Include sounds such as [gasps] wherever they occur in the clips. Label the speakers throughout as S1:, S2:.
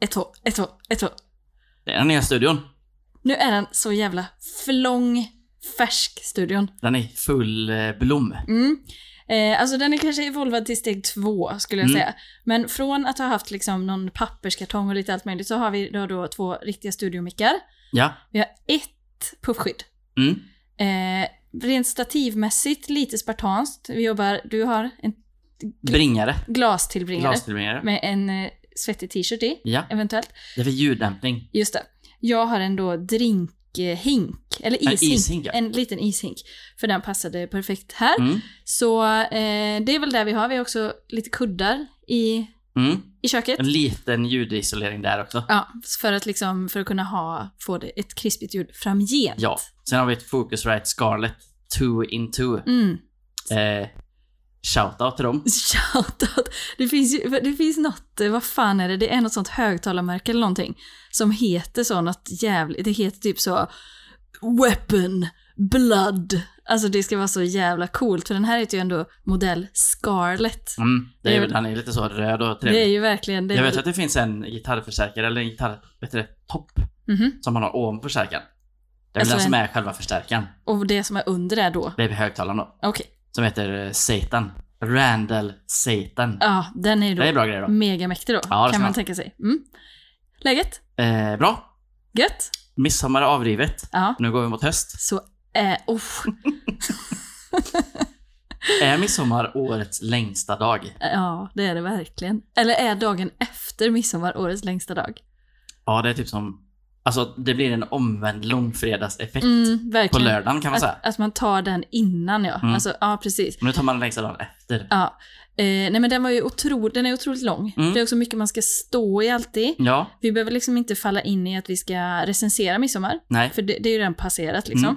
S1: Ett, två, ett, två.
S2: Det är den nya studion.
S1: Nu är den så jävla flång, färsk, studion.
S2: Den är i full eh, blom.
S1: Mm. Eh, alltså den är kanske evolvad till steg två, skulle jag
S2: Mm.
S1: säga. Men från att ha haft liksom någon papperskartong och lite allt möjligt, så har vi då, då två riktiga studiomickar.
S2: Ja.
S1: Vi har ett puffskydd.
S2: Mm.
S1: Eh, rent stativmässigt lite spartanskt. Vi jobbar, du har en
S2: Bringare.
S1: glastillbringare
S2: Glastillbringare.
S1: med en eh, svettig t-shirt i,
S2: Ja.
S1: eventuellt.
S2: Det är för ljuddämpning.
S1: Just det. Jag har en då drinkhink, eller
S2: En
S1: ishink.
S2: ishink, ja.
S1: En liten ishink. För den passade perfekt här.
S2: Mm.
S1: Så eh, det är väl där vi har. Vi har också lite kuddar i,
S2: Mm.
S1: i köket.
S2: En liten ljudisolering där också.
S1: Ja, för att liksom, för att kunna ha, få det, ett krispigt ljud framgent.
S2: Ja. Sen har vi ett Focusrite Scarlett 2 in 2.
S1: Mm.
S2: Eh, shoutout till dem.
S1: [laughs] Shoutout. Det finns ju, det finns något, eh, vad fan är det, det är något sånt högtalarmärke eller någonting som heter så något jävligt, det heter typ så Weapon Blood. Alltså det ska vara så jävla coolt för den här heter ju ändå modell Scarlett.
S2: Mm. Det
S1: Det
S2: är,
S1: är
S2: väl-
S1: väl-
S2: han är lite så röd och
S1: Det är
S2: trevlig.
S1: ju verkligen det. är
S2: Jag vet
S1: väl-
S2: att det finns en gitarrförstärkare, eller en gitarr... Vet du det? Topp.
S1: Mhm.
S2: Som man har ovanpå förstärkaren. Det är väl
S1: Alltså
S2: den som
S1: en-
S2: är själva förstärkaren.
S1: Och det som är under är då,
S2: Det är högtalaren då.
S1: okej,
S2: Som heter eh, Satan. Randall Satan.
S1: ja den är ju då
S2: Det är bra grejer då.
S1: megamäktig då,
S2: Ja, det ska
S1: kan man
S2: man.
S1: tänka sig. Mm. Läget?
S2: Eh, bra.
S1: Gött?
S2: Midsommar är avrivet.
S1: Ja.
S2: Nu går vi mot höst.
S1: Så, eh, oh,
S2: Är midsommar årets längsta dag?
S1: ja det är det verkligen. Eller är dagen efter midsommar årets längsta dag?
S2: Ja, det är typ som... Alltså, det blir en omvänd långfredagseffekt.
S1: Mm,
S2: På
S1: verkligen.
S2: lördagen kan man säga.
S1: Att, att man tar den innan ja.
S2: Mm.
S1: Alltså, ja precis.
S2: Men nu tar man den längsta dagen efter.
S1: Ja. Eh, nej men den var ju otro, den är otroligt lång.
S2: Mm.
S1: Det är också mycket man ska stå i alltid.
S2: Ja,
S1: Vi behöver liksom inte falla in i att vi ska recensera midsommar.
S2: nej.
S1: För det, det är ju redan passerat liksom.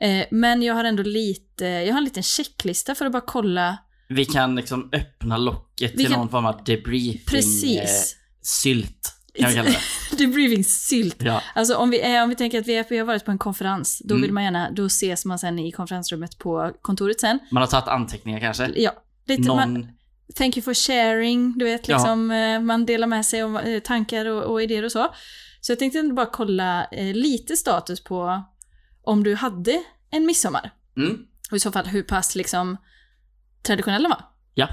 S2: Mm.
S1: Eh, men jag har ändå lite, jag har en liten checklista för att bara kolla
S2: Vi kan liksom öppna locket
S1: Vi
S2: till
S1: kan-
S2: någon form av debriefing.
S1: precis. [laughs]
S2: Eh, sylt, kan vi kalla det.
S1: Debriefing sylt.
S2: Ja.
S1: Alltså om vi, är, om vi tänker att vi, är, vi har varit på en konferens, då
S2: Mm.
S1: vill man gärna, då ses man sen i konferensrummet på kontoret sen.
S2: Man har tagit anteckningar kanske.
S1: Ja, lite,
S2: Någon...
S1: man, Thank you for sharing, du vet,
S2: Ja.
S1: liksom, eh, man delar med sig av eh, tankar och, och idéer och så. Så jag tänkte ändå bara kolla eh, lite status på om du hade en midsommar.
S2: Mm.
S1: Och i så fall hur pass liksom, traditionell den var.
S2: Ja.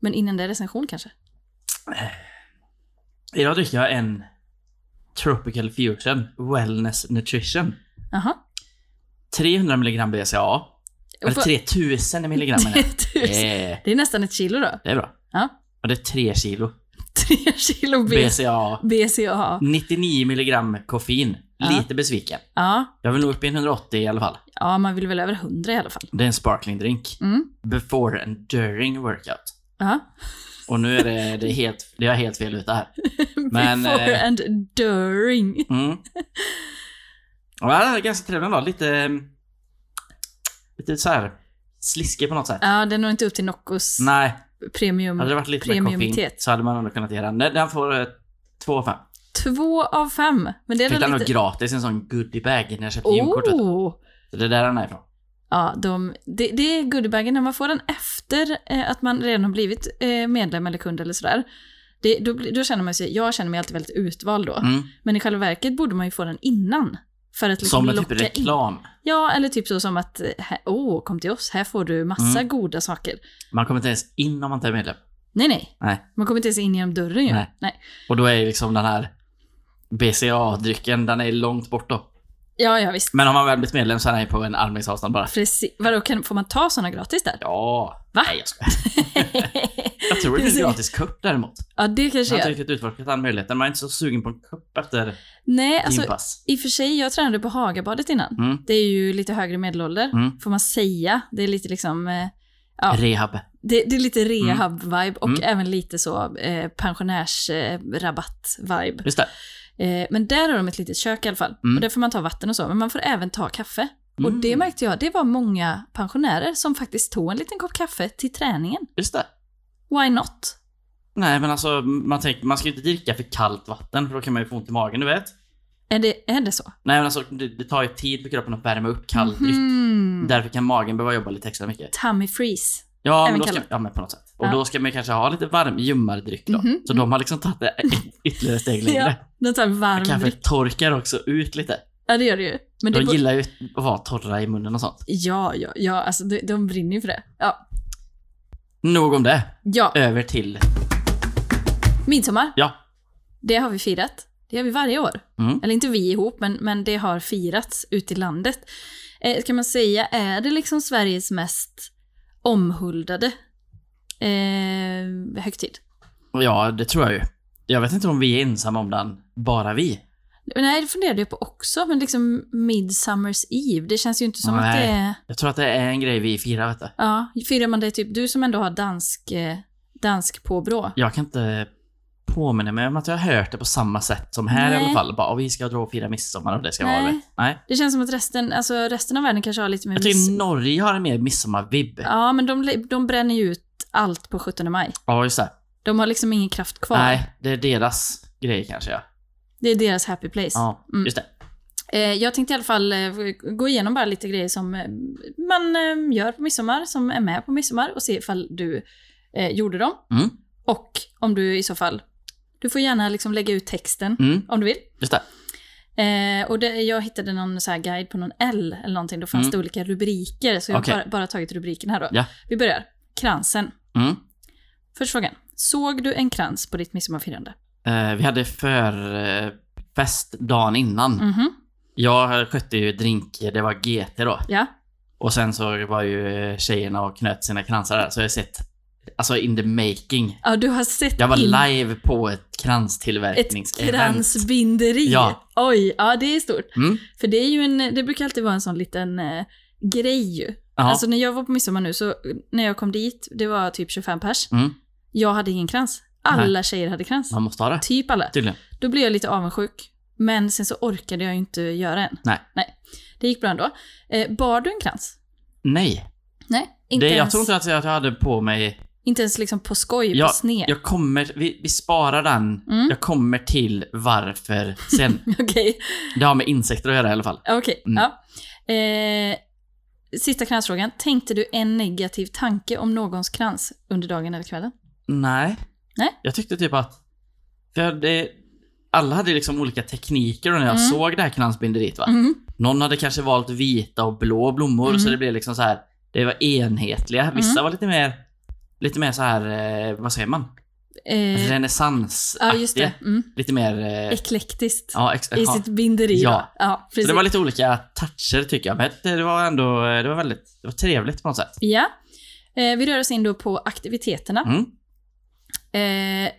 S1: Men innan det recension kanske?
S2: Idag dricker jag en Tropical Fusion Wellness Nutrition.
S1: Jaha.
S2: 300 milligram BCAA. Eller 3000 milligram. är
S1: [laughs]
S2: det. Eh,
S1: Det är nästan ett kilo då. [laughs]
S2: det är bra.
S1: Ja.
S2: Och det är 3 kilo
S1: Tre kilo B-
S2: BCAA.
S1: BCAA.
S2: 99 milligram koffein.
S1: Ja.
S2: Lite besviken.
S1: Ja.
S2: Jag vill nog upp i en 180 i alla fall.
S1: ja, man vill väl över 100 i alla fall.
S2: Det är en sparkling drink.
S1: Mm.
S2: Before and during workout. [laughs]
S1: Ja.
S2: Och nu är det, det är helt, det är helt fel ute här. Men,
S1: Before
S2: eh,
S1: and during. [laughs]
S2: Mm. Ja, det här är ganska trevlig ändå. Lite... mm, Lite så här sliskig på något sätt.
S1: Ja, det når inte upp till Noccos
S2: Nej, Alltså-
S1: premium.
S2: hade det varit lite mer koffein
S1: Premiumitet.
S2: så hade man ändå kunnat göra den. Den får eh, två av fem.
S1: Två av fem. Men det är
S2: Fick
S1: väl
S2: den
S1: lite...
S2: nog gratis i en sån goodiebag när jag köpte gymkortet.
S1: Oh!
S2: Så det är där den är ifrån.
S1: Ja, de, det, det är goodiebagen när man får den efter eh, att man redan har blivit eh, medlem eller kund eller sådär. Det, då, blir- då känner man sig, jag känner mig alltid väldigt utvald då.
S2: Mm.
S1: Men i själva verket borde man ju få den innan. För att liksom
S2: Som en
S1: locka
S2: typ reklam.
S1: in. Ja, eller typ så som att, eh, här- åh, kom till oss, här får du massa
S2: Mm.
S1: goda saker.
S2: Man kommer inte ens in om man inte är medlem.
S1: Nej, nej.
S2: Nej.
S1: Man kommer inte ens in genom dörren ju.
S2: Nej. Och då är ju liksom den här BCA-drycken, den är långt bort då.
S1: Ja, ja, visst.
S2: Men om man väl blivit medlem så är den ju på en armlängds avstånd bara.
S1: Precis. Vadå, kan, får man ta sådana gratis
S2: [laughs]
S1: där?
S2: Ja.
S1: Va?
S2: Nej, jag skojar. Jag
S1: [laughs]
S2: tror det finns gratis cup däremot.
S1: ja, det kanske
S2: Jag har
S1: gör.
S2: inte riktigt utforskat den möjligheten. Man är inte så sugen på en cup efter
S1: Nej, alltså
S2: gympass.
S1: I och för sig, jag tränade på Hagabadet innan.
S2: Mm.
S1: Det är ju lite högre medelålder,
S2: Mm.
S1: får man säga. Det är lite liksom, eh, ja.
S2: Rehab.
S1: det, det är lite rehab-vibe och
S2: Mm.
S1: även lite så eh, pensionärsrabatt-vibe.
S2: Just det.
S1: Eh, men där har de ett litet kök i alla fall.
S2: Mm.
S1: Och där får man ta vatten och så, men man får även ta kaffe. Och det
S2: Mm.
S1: märkte jag, det var många pensionärer som faktiskt tog en liten kopp kaffe till träningen.
S2: Just det.
S1: Why not?
S2: Nej men alltså man tänker, man ska ju inte dricka för kallt vatten för då kan man ju få ont i magen, du vet.
S1: Är det, är det så?
S2: Nej men alltså det, det tar ju tid för kroppen att värma upp kall dryck.
S1: Mm.
S2: Därför kan magen behöva jobba lite extra mycket.
S1: Tummy freeze.
S2: Ja, men
S1: Även
S2: då ska,
S1: kallare.
S2: ja, men på något sätt. Och
S1: Ja.
S2: då ska man kanske ha lite varm, ljummare dryck då.
S1: Mhm,
S2: Så de har liksom tagit det ett- ytterligare ett steg längre.
S1: Den tar varm
S2: Kaffe
S1: dryck.
S2: torkar också ut lite.
S1: Ja, det gör det ju. Men det
S2: De
S1: bo-
S2: gillar ju att vara torra i munnen och sånt.
S1: Ja, ja, ja, alltså de, de brinner ju för det. Ja.
S2: Nog om det.
S1: ja,
S2: Över till...
S1: midsommar.
S2: Eh. Ja.
S1: Det har vi firat. Det gör vi varje år.
S2: Mm.
S1: Eller inte vi ihop, men, men det har firats ute i landet. Eh, kan man säga, är det liksom Sveriges mest omhuldade eh, högtid?
S2: Ja, det tror jag ju. Jag vet inte om vi är ensamma om den. Bara vi.
S1: Nej, det funderade jag på också, men liksom Midsummer's Eve, det känns ju inte som att
S2: Nej.
S1: det är...
S2: Jag tror att det är en grej vi firar, vet du.
S1: Ja, firar man det typ, du som ändå har dansk, eh, dansk påbrå.
S2: Jag kan inte påminna mig om att jag har hört det på samma sätt som här
S1: Nej.
S2: i alla fall. Bara, "Åh, vi ska dra och fira midsommar och det ska
S1: Nej.
S2: vara det. Nej.
S1: Det känns som att resten, alltså resten av världen kanske har lite mer...
S2: Jag
S1: miss-
S2: tycker Norge har en mer midsommarvibb. Ja,
S1: Ja, men de, de bränner ju ut allt på 17 maj.
S2: just det.
S1: De har liksom ingen kraft kvar.
S2: Nej, det är deras grej kanske, ja.
S1: Det är deras happy place.
S2: Ja,
S1: Mm.
S2: just det.
S1: Eh, jag tänkte i alla fall eh, gå igenom bara lite grejer som eh, man eh, gör på midsommar, som är med på midsommar och se ifall du eh, gjorde dem.
S2: Mm.
S1: Och om du i så fall, du får gärna liksom lägga ut texten
S2: Mm,
S1: om du vill.
S2: just det.
S1: Eh, och det, jag hittade någon så här guide på någon L eller någonting, då fanns
S2: Mm.
S1: det olika rubriker. Så jag har
S2: Okej.
S1: bara, bara tagit rubriken här då.
S2: Ja.
S1: Vi börjar. Kransen.
S2: Mm.
S1: Första frågan. Såg du en krans på ditt midsommarfirande?
S2: Eh, vi hade för eh, fest dagen innan.
S1: Mhm.
S2: Jag skötte ju drink, det var GT då.
S1: Ja.
S2: Och sen så var ju eh, tjejerna och knöt sina kransar där, så jag har sett, alltså in the making.
S1: Ja, du har sett
S2: Jag var
S1: in
S2: live på ett
S1: ett
S2: kranstillverkningsevent.
S1: kransbinderi.
S2: Ja.
S1: Oj, ja det är stort.
S2: Mm.
S1: För det är ju en, det brukar alltid vara en sån liten eh, grej ju.
S2: Ja.
S1: Alltså när jag var på midsommar nu, så när jag kom dit, det var typ 25 pers.
S2: Mm.
S1: Jag hade ingen krans. Alla tjejer hade krans.
S2: Man måste ha det.
S1: Typ alla.
S2: Tydligen.
S1: Då blev jag lite avundsjuk. Men sen så orkade jag ju inte göra en.
S2: Nej.
S1: Nej. Det gick bra ändå. Eh, bar du en krans?
S2: Nej.
S1: Nej. Inte,
S2: Det, jag
S1: ens,
S2: tror inte att jag att jag hade på mig...
S1: inte ens liksom på skoj,
S2: Jag,
S1: på sned.
S2: jag kommer... Vi, vi sparar den.
S1: Mm.
S2: Jag kommer till varför sen.
S1: [laughs] Okej.
S2: Det har med insekter att göra i alla fall.
S1: Okej.
S2: Mm.
S1: Ja. Eh, sista kransfrågan. Tänkte du en negativ tanke om någons krans under dagen eller kvällen?
S2: Nej.
S1: Nej.
S2: Jag tyckte typ att... För det, alla hade liksom olika tekniker och när jag
S1: Mm.
S2: såg det här kransbinderiet va. Alltså,
S1: Mm.
S2: Någon hade kanske valt vita och blå blommor
S1: Mm.
S2: så det blev liksom så här. Det var enhetliga. Vissa
S1: Mhm.
S2: var lite mer... Lite mer så här, eh, vad säger man?
S1: Eh, ja,
S2: Renässansaktiga.
S1: just det. Mm.
S2: Lite mer... Eh,
S1: Eklektiskt.
S2: ja, ex-
S1: I
S2: ja.
S1: sitt binderi
S2: Ja.
S1: då. Ja,
S2: Så
S1: precis.
S2: det var lite olika toucher tycker jag, men det var ändå det var väldigt det var trevligt på något sätt.
S1: ja. Eh, vi rör oss in då på aktiviteterna.
S2: Mm.
S1: Eh,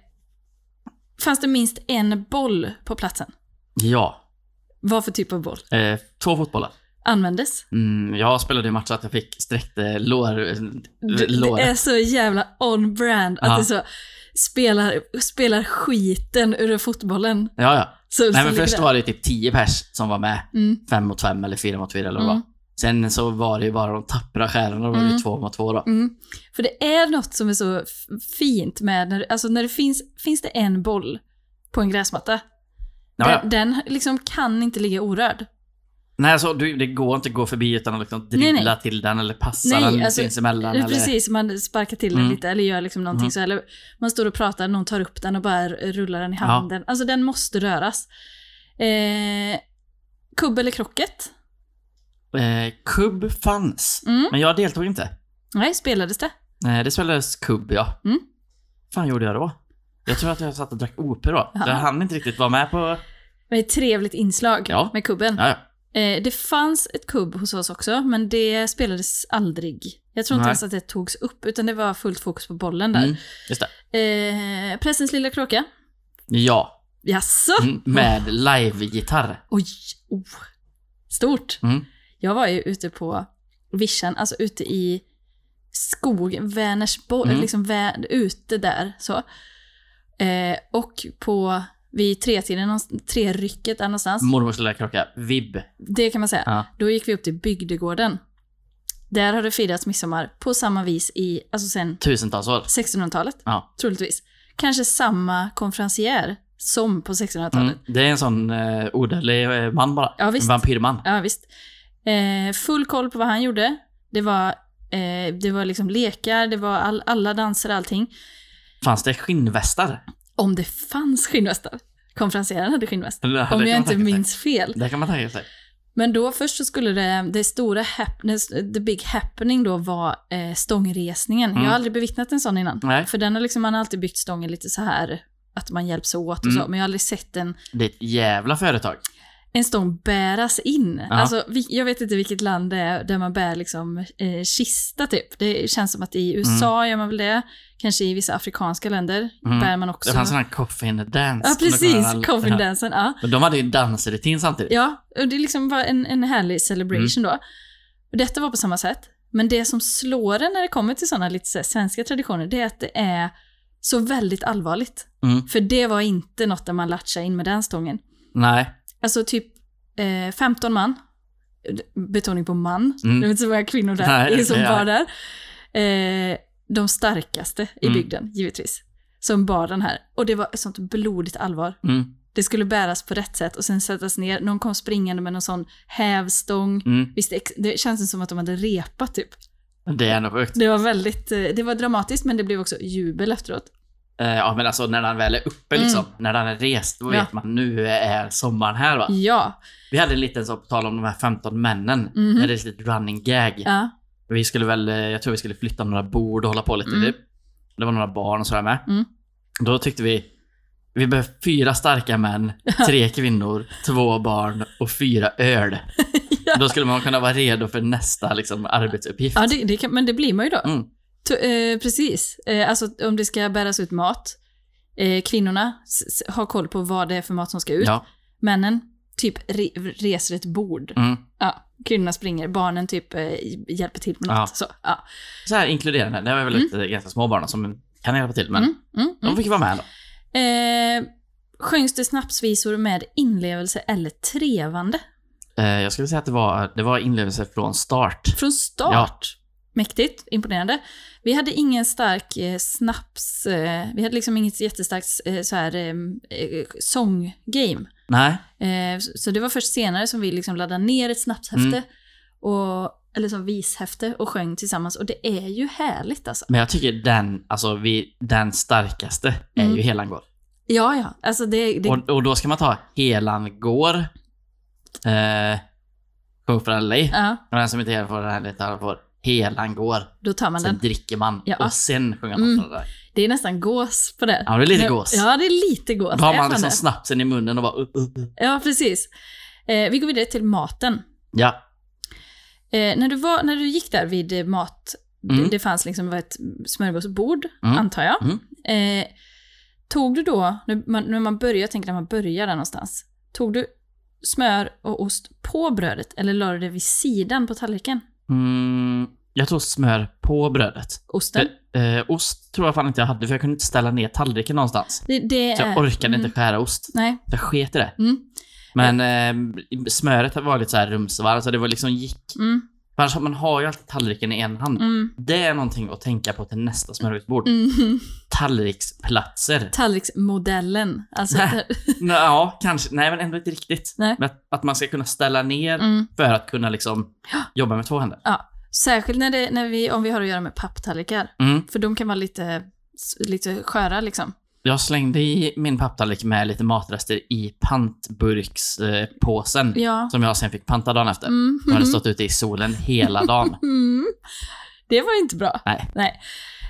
S1: fanns det minst en boll på platsen?
S2: Ja.
S1: Vad för typ av boll
S2: Eh, två fotbollar.
S1: användes?
S2: Mm, jag spelade ju match så att jag fick sträckt eh, lår... eh,
S1: Det,
S2: lår.
S1: det är så jävla on-brand att
S2: Ja.
S1: det så spelar, spelar skiten ur fotbollen.
S2: Ja, ja.
S1: Så,
S2: Nej,
S1: så
S2: men
S1: ligger
S2: först
S1: det.
S2: var det typ 10 pers som var med.
S1: Mm.
S2: Fem mot fem eller fyra mot fyra eller vad det
S1: Mm.
S2: var. Sen så var det ju bara de tappra stjärnorna, då var det
S1: Mm.
S2: ju två mot två då.
S1: Mm. För det är något som är så f- fint med när, alltså när det finns, finns det en boll på en gräsmatta.
S2: Ja, ja.
S1: Den, den liksom kan inte ligga orörd.
S2: Nej, alltså, du, det går inte att gå förbi utan att liksom
S1: Nej, nej.
S2: dribbla till den eller passa
S1: Nej,
S2: den
S1: alltså,
S2: sinsemellan.
S1: Eller...
S2: eller-
S1: Precis, man sparkar till den
S2: Mm.
S1: lite eller gör liksom någonting
S2: Mm.
S1: så. Eller man står och pratar, någon tar upp den och bara rullar den i
S2: Ja.
S1: handen. Alltså den måste röras. Eh, kubb eller krocket?
S2: Eh, kubb fanns,
S1: Mm.
S2: men jag deltog inte.
S1: Nej, spelades det?
S2: Nej, det spelades kubb, ja.
S1: Mm.
S2: fan gjorde jag då? Jag tror att jag satt och drack OP då.
S1: Ja.
S2: Jag hann inte riktigt vara med på...
S1: Det var ett trevligt inslag
S2: Ja.
S1: med kubben.
S2: Ja, ja.
S1: Eh, det fanns ett kubb hos oss också, men det spelades aldrig. Jag tror inte
S2: Nej.
S1: ens att det togs upp, utan det var fullt fokus på bollen där.
S2: Mm, just det. Mm.
S1: Eh, pressens lilla kråka.
S2: Ja.
S1: Jaså?
S2: Mm, med live-gitarr.
S1: Oj! Oh. Stort!
S2: Mm.
S1: Jag var ju ute på vischan, alltså ute i skogen, Vänersborg,
S2: Mm.
S1: liksom vä- ute där så. Eh, och på, vid tretiden, någonstans- trerycket där någonstans.
S2: Mormors lilla kråka. Vibb.
S1: Det kan man säga.
S2: Mm. Ja.
S1: Då gick vi upp till bygdegården. Där har det firats midsommar på samma vis i, alltså sen
S2: Tusentals år.
S1: 1600-talet,
S2: Ja.
S1: troligtvis. Kanske samma konferencier som på 1600-talet.
S2: Mm. Det är en sån eh, odödlig eh, man bara.
S1: Ja, visst.
S2: En vampyrman.
S1: Ja, visst. Eh, full koll på vad han gjorde. Det var Eh, det var liksom lekar, det var all, alla danser, allting.
S2: Fanns det skinnvästar? [laughs]
S1: Om det fanns skinnvästar. Konferenseraren hade skinnväst.
S2: Eller, det kan
S1: Om
S2: man
S1: jag inte
S2: tänka sig.
S1: minns fel.
S2: Det kan man tänka sig.
S1: Men då först så skulle det, det stora, happen, the big happening då var eh, stångresningen.
S2: Mm.
S1: Jag har aldrig bevittnat en sån innan.
S2: Nej.
S1: För den har liksom, man har alltid byggt stången lite så här att man hjälps åt och så,
S2: Mm.
S1: men jag har aldrig sett en,
S2: Det är ett jävla företag.
S1: en stång bäras in.
S2: Ja.
S1: Alltså, vi, jag vet inte vilket land det är där man bär liksom eh, kista typ. Det känns som att i USA gör man väl det, kanske i vissa afrikanska länder
S2: Mm.
S1: bär man
S2: Det
S1: också.
S2: fanns en sån här coffin dance.
S1: ja, precis.
S2: Ja.
S1: Coffin-dansen. Ja.
S2: Men De hade ju dansrutin samtidigt.
S1: Ja, och det liksom var en, en härlig celebration
S2: Mm.
S1: då. Och detta var på samma sätt. Men det som slår en när det kommer till sådana lite så här svenska traditioner, det är att det är så väldigt allvarligt.
S2: Mm.
S1: För det var inte något där man latchade in med den stången.
S2: Nej.
S1: Alltså typ eh, 15 man, betoning på man,
S2: Mm.
S1: det var inte så många kvinnor där
S2: Nej,
S1: i- som
S2: nej.
S1: var där. Eh, de starkaste i
S2: Mm.
S1: bygden, givetvis, som bar den här. Och det var ett sånt blodigt allvar.
S2: Mm.
S1: Det skulle bäras på rätt sätt och sen sättas ner. Någon kom springande med någon sån hävstång.
S2: Mm.
S1: Visst, det, ex- det känns som att de hade repat typ.
S2: Det är ändå sjukt.
S1: Det var väldigt, eh, det var dramatiskt men det blev också jubel efteråt.
S2: Eh, Ja men alltså när den väl är uppe
S1: Mm.
S2: liksom. När den är rest, då
S1: Ja.
S2: vet man nu är sommaren här va.
S1: Ja,
S2: Vi hade en liten så, på tal om de här 15 männen.
S1: Mhm.
S2: Vi hade ett litet running gag.
S1: ja,
S2: Vi skulle väl, eh, jag tror vi skulle flytta några bord och hålla på lite
S1: Mm.
S2: typ. Det var några barn och sådär med.
S1: Mm.
S2: Då tyckte vi, vi behöver fyra starka män,
S1: [laughs]
S2: tre kvinnor, två barn och fyra öl.
S1: [laughs] Ja.
S2: Då skulle man kunna vara redo för nästa liksom, arbetsuppgift.
S1: ja det, det kan, men det blir man ju då.
S2: Mm.
S1: To, eh, precis, eh, alltså om det ska bäras ut mat. Eh, kvinnorna s- s- har koll på vad det är för mat som ska ut.
S2: Ja.
S1: Männen typ re, reser ett bord.
S2: Mm.
S1: Ja, kvinnorna springer, barnen typ eh, hjälper till med något.
S2: Ja.
S1: Så, ja.
S2: Så här inkluderande. Det var väl lite ganska små barn som kan hjälpa till, men
S1: Mm, mm, mm.
S2: de fick vara med ändå.
S1: Eh, sjöngs det snapsvisor med inlevelse eller trevande?
S2: Eh, Jag skulle säga att det var, det var inlevelse från start.
S1: Från start. Mäktigt, imponerande. Vi hade ingen stark eh, snaps, eh, vi hade liksom inget jättestarkt eh, så här eh, eh, sånggame.
S2: Nej.
S1: Eh, så- så det var först senare som vi liksom laddade ner ett snapshäfte,
S2: Mm.
S1: och, eller som vishäfte, och sjöng tillsammans. Och det är ju härligt alltså.
S2: Men jag tycker den, alltså vi, den starkaste är
S1: Mm.
S2: ju Helangård.
S1: Ja, ja. Alltså det, det
S2: Och, och då ska man ta Helangård, eh, Kung för alla lej.
S1: ja,
S2: Och den som inte är för den här lite får Helangård.
S1: då tar man
S2: Sen
S1: den.
S2: dricker man
S1: Ja.
S2: och sen sjunger man
S1: Mm.
S2: mm. där.
S1: Det är nästan gås på det.
S2: Ja, det är lite
S1: Men-
S2: gås.
S1: Ja, det är lite gås.
S2: Då har
S1: Det är
S2: man
S1: fan
S2: liksom
S1: det.
S2: snapsen i munnen och bara uh, upp, upp, upp.
S1: Ja, precis. Eh, vi går vidare till maten.
S2: Ja.
S1: Eh, när, du var, när du gick där vid eh, mat,
S2: Mm.
S1: det, det fanns liksom var ett smörgåsbord,
S2: Mm.
S1: antar jag.
S2: Mm.
S1: Eh, tog du då, när man, när man börjar, jag tänker när man börjar där någonstans, tog du smör och ost på brödet eller la du det vid sidan på tallriken?
S2: Mm, jag tror smör på brödet.
S1: Osten?
S2: Eh, ost tror jag fan inte jag hade för jag kunde inte ställa ner tallriken någonstans.
S1: Det, det
S2: Så jag
S1: är-
S2: orkade
S1: mm,
S2: inte skära ost.
S1: Nej.
S2: Jag sket i det.
S1: Mm,
S2: Men eh, smöret var lite så här rumsvarmt så det var liksom gick.
S1: mm,
S2: Annars, man har ju alltid tallriken i en hand.
S1: mm,
S2: Det är någonting att tänka på till nästa smörgåsbord.
S1: mm. [laughs]
S2: Tallriksplatser.
S1: Tallriksmodellen. Alltså,
S2: Nå, ja, kanske. Nej, men ändå inte riktigt.
S1: Nej.
S2: Men att, att man ska kunna ställa ner
S1: mm.
S2: för att kunna liksom jobba med två händer.
S1: Särskilt när det, när vi, om vi har att göra med papptallrikar.
S2: Mm.
S1: För de kan vara lite, lite sköra liksom.
S2: Jag slängde i min papptallrik med lite matrester i pantburkspåsen. Eh, påsen,
S1: Ja.
S2: Som jag sen fick panta dagen efter.
S1: Mm.
S2: Jag hade stått ute i solen
S1: [laughs]
S2: hela dagen.
S1: Mm. Det var ju inte bra.
S2: Nej.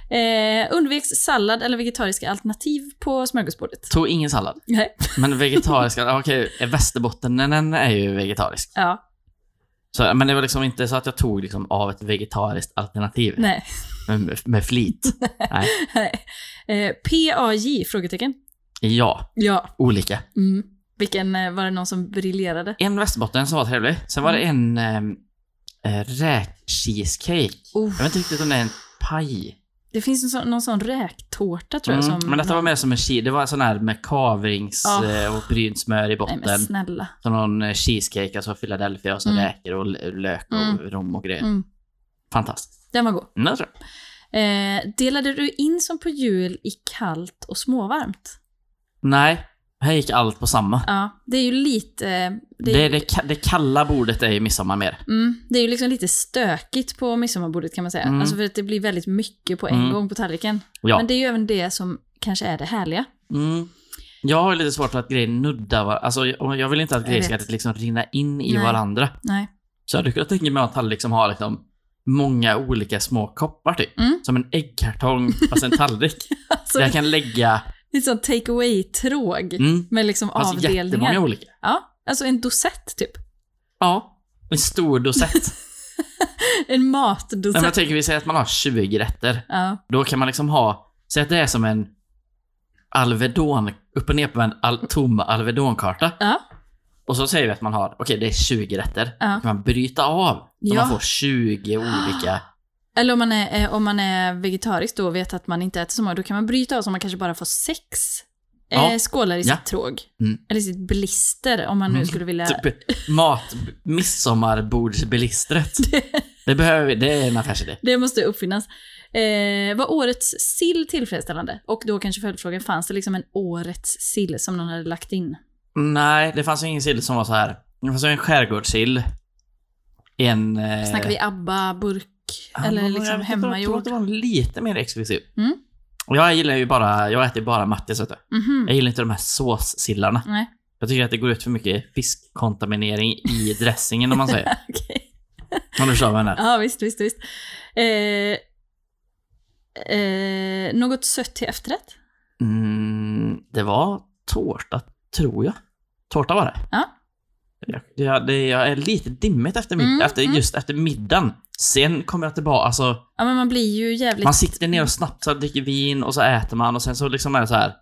S1: Eh, undviks sallad eller vegetariska alternativ på smörgåsbordet?
S2: Tog ingen sallad.
S1: Nej.
S2: Men vegetariska, okej, västerbottenen är ju vegetarisk.
S1: Ja,
S2: Så, men det var liksom inte så att jag tog liksom av ett vegetariskt alternativ.
S1: nej.
S2: Med, med flit. Nej.
S1: nej. Eh, PAJ? Frågetecken.
S2: Ja,
S1: Ja.
S2: olika.
S1: Mm. Vilken, eh, var det någon som briljerade?
S2: En västerbotten som var trevlig. Sen var det
S1: Mm.
S2: en äh, räkcheesecake.
S1: Oh,
S2: Jag vet inte riktigt om det är en paj.
S1: det finns en sån, någon sån räktårta tror jag
S2: Mm,
S1: som...
S2: men detta var mer som en cheese. Det var en sån här med kavrings
S1: Ah.
S2: eh, och brynt smör i
S1: Nej
S2: botten.
S1: men snälla.
S2: Så någon eh, cheesecake, alltså Philadelphia och så
S1: Mm.
S2: räkor och l- lök och
S1: Mm.
S2: rom och grejer.
S1: Mm.
S2: Fantastiskt.
S1: Den var god.
S2: Mm, jag tror jag.
S1: Eh, delade du in som på jul i kallt och småvarmt?
S2: Nej, Här gick allt på samma.
S1: Ja, det är ju lite... Det är,
S2: Det, det, ka- det kalla bordet är ju midsommar mer.
S1: Mm, det är ju liksom lite stökigt på midsommarbordet kan man säga.
S2: Mm.
S1: Alltså för att det blir väldigt mycket på en
S2: Mm.
S1: gång på tallriken.
S2: Ja.
S1: Men det är ju även det som kanske är det härliga. [laughs]
S2: Mm. Jag har ju lite svårt för att grejer nuddar var... Alltså, jag jag vill inte att
S1: Jag
S2: grejer ska
S1: vet.
S2: liksom rinna in i
S1: Nej.
S2: varandra.
S1: Nej.
S2: Så jag hade kunnat tänka mig att han liksom har liksom många olika små koppar typ.
S1: Mm.
S2: Som en äggkartong fast en
S1: [laughs]
S2: tallrik.
S1: Alltså,
S2: där jag kan lägga
S1: lite sån take away-tråg.
S2: mm,
S1: Med liksom
S2: fast jättemånga
S1: avdelningar.
S2: olika.
S1: Ja, alltså en dosett typ. [laughs]
S2: Ja. En stor dosett.
S1: En
S2: Nej, men jag
S1: matdosett.
S2: tänker vi säger att man har 20 rätter.
S1: Ja,
S2: Då kan man liksom ha, säg att det är som en Alvedon, upp och ner på en al- tom Alvedonkarta.
S1: ja,
S2: Och så säger vi att man har, okej det är 20 rätter.
S1: ja.
S2: Då kan man bryta av. Så
S1: Ja.
S2: man får
S1: [gasps]
S2: 20 olika.
S1: Eller om man, är, eh, om man är vegetarisk då och vet att man inte äter så många, då kan man bryta av så man kanske bara får sex
S2: Ja.
S1: eh, skålar i
S2: Ja.
S1: sitt tråg.
S2: Mm.
S1: Eller sitt blister om man nu
S2: Mm.
S1: skulle vilja...
S2: Typ mat,
S1: [laughs]
S2: midsommarbordsbilistret. Det behöver vi, det är en affärsidé.
S1: Det måste uppfinnas. Eh, var årets sill tillfredsställande? Och då kanske följdfrågan, fanns det liksom en årets sill som någon hade lagt in?
S2: Nej, det fanns ju ingen sill som var så här. Det fanns ju en skärgårdssill. En... eh,
S1: Snackar vi ABBA, burk
S2: ja,
S1: eller
S2: men jag
S1: liksom
S2: vet inte, Jag tror
S1: hemmagjord?
S2: att det var lite mer exklusiv.
S1: Mm.
S2: Och jag gillar ju bara, jag äter ju bara Mattis vet du.
S1: Mhm.
S2: Jag gillar inte de här såssillarna.
S1: Nej, [laughs]
S2: Jag tycker att det går ut för mycket fiskkontaminering
S1: [laughs]
S2: i dressingen om man säger.
S1: okej.
S2: Om du förstår vad jag menar.
S1: Ja, visst, visst, visst. Eh, eh, något sött till efterrätt?
S2: Mm, det var tårta, tror jag. Tårta var det.
S1: Ja.
S2: Jag, jag, det, jag är lite dimmigt efter, mid,
S1: Mm,
S2: efter
S1: mm.
S2: just efter middagen. Sen kommer jag tillbaka, alltså
S1: Ja, men man blir ju jävligt,
S2: man
S1: man,
S2: sitter ner och snabbt dricker vin och så äter man och sen så liksom är det så här.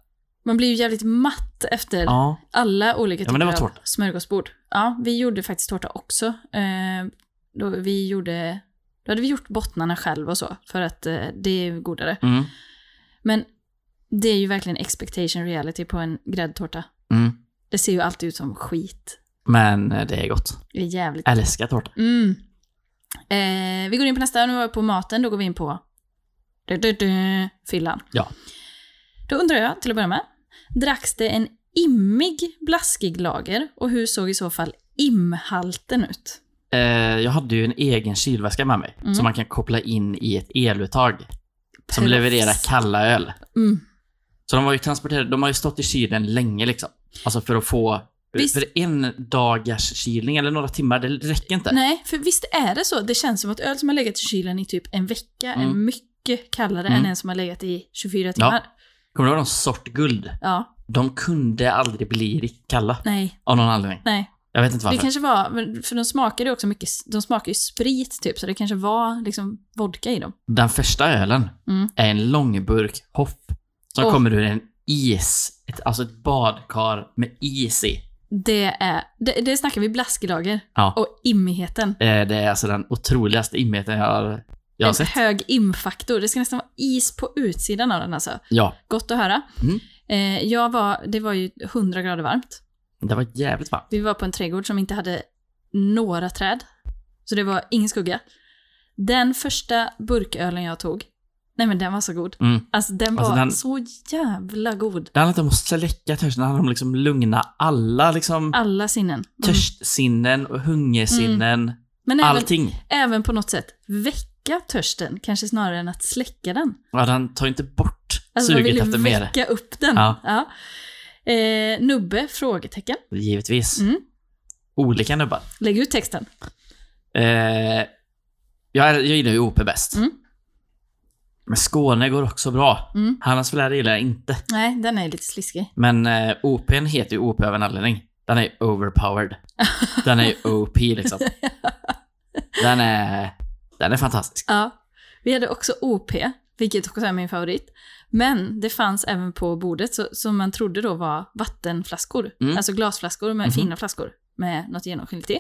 S1: blir ju jävligt matt efter
S2: Ja.
S1: alla olika
S2: Ja, men det var
S1: typer av
S2: tårta.
S1: smörgåsbord. Ja, vi gjorde faktiskt tårta också. Eh, då, vi gjorde, då hade vi gjort bottnarna själv och så, för att eh, det är ju godare.
S2: Mm,
S1: Men det är ju verkligen expectation reality på en gräddtårta.
S2: mm.
S1: Det ser ju alltid ut som skit.
S2: Men eh, det är gott.
S1: Det är jävligt...
S2: Älskar tårta.
S1: Mm. Eh, vi går in på nästa, nu var vi på maten, då går vi in på du, du, du, fyllan.
S2: Ja.
S1: Då undrar jag, till att börja med, dracks det en immig blaskig lager och hur såg i så fall imhalten ut?
S2: Eh, jag hade ju en egen kylväska med mig
S1: Mm.
S2: som man kan koppla in i ett eluttag som
S1: Proffs.
S2: levererar kalla öl.
S1: Mm.
S2: Så de var ju transporterade, de har ju stått i kylen länge liksom. Alltså för att få,
S1: Visst.
S2: för en dagars kylning eller några timmar, det räcker inte.
S1: Nej, för visst är det så? Det känns som att öl som har legat i kylen i typ en vecka är
S2: Mm.
S1: mycket kallare
S2: Mm.
S1: än en som har legat i 24 timmar.
S2: Kommer du ihåg de sort guld?
S1: Ja.
S2: De kunde aldrig bli riktigt kalla
S1: Nej,
S2: av någon anledning.
S1: nej.
S2: Jag vet inte varför.
S1: Det kanske var, men- för de smakade ju också mycket, de smakar ju sprit typ, så det kanske var liksom vodka i dem.
S2: Den första ölen
S1: Mm.
S2: är en långburk hopp som
S1: Åh.
S2: kommer ur en is, ett, alltså ett badkar med is i.
S1: Det är, det, det snackar vi blaskelager
S2: Ja.
S1: och immigheten.
S2: Eh, Det är alltså den otroligaste imheten jag har, jag har
S1: En
S2: sett.
S1: hög imfaktor. Det ska nästan vara is på utsidan av den alltså.
S2: Ja,
S1: Gott att höra.
S2: Mm.
S1: Eh, jag var, det var ju 100 grader varmt.
S2: det var jävligt varmt.
S1: Vi var på en trädgård som inte hade några träd. Så det var ingen skugga. Den första burkölen jag tog, nej men den var så god.
S2: Mm.
S1: Alltså den var
S2: Alltså, den-
S1: så jävla god.
S2: Det handlar inte om att släcka törsten, det handlar om att liksom lugna alla liksom,
S1: Alla sinnen. Mm.
S2: törstsinnen och hungersinnen.
S1: Men även,
S2: Allting.
S1: även på något sätt väcka törsten, kanske snarare än att släcka den.
S2: Ja, den tar ju inte bort
S1: Alltså man vill
S2: suget
S1: ju
S2: efter mer.
S1: väcka upp den.
S2: Ja.
S1: Eh, nubbe? Frågetecken.
S2: Givetvis.
S1: Mm.
S2: Olika nubbar.
S1: Lägg ut texten.
S2: Eh, jag, är- jag gillar ju OP bäst.
S1: Mm.
S2: Men Skåne går också bra.
S1: Mm.
S2: Hannas Flärre gillar jag inte.
S1: Nej, den är lite sliskig.
S2: Men eh, OPn heter ju OP av en anledning. Den är ju overpowered. Den är ju
S1: [laughs]
S2: OP liksom. Den är, den är fantastisk.
S1: Ja. Vi hade också OP, vilket också är min favorit. Men det fanns även på bordet så, som man trodde då var vattenflaskor.
S2: Mm.
S1: Alltså glasflaskor, med
S2: Mhm.
S1: fina flaskor med något genomskinligt i.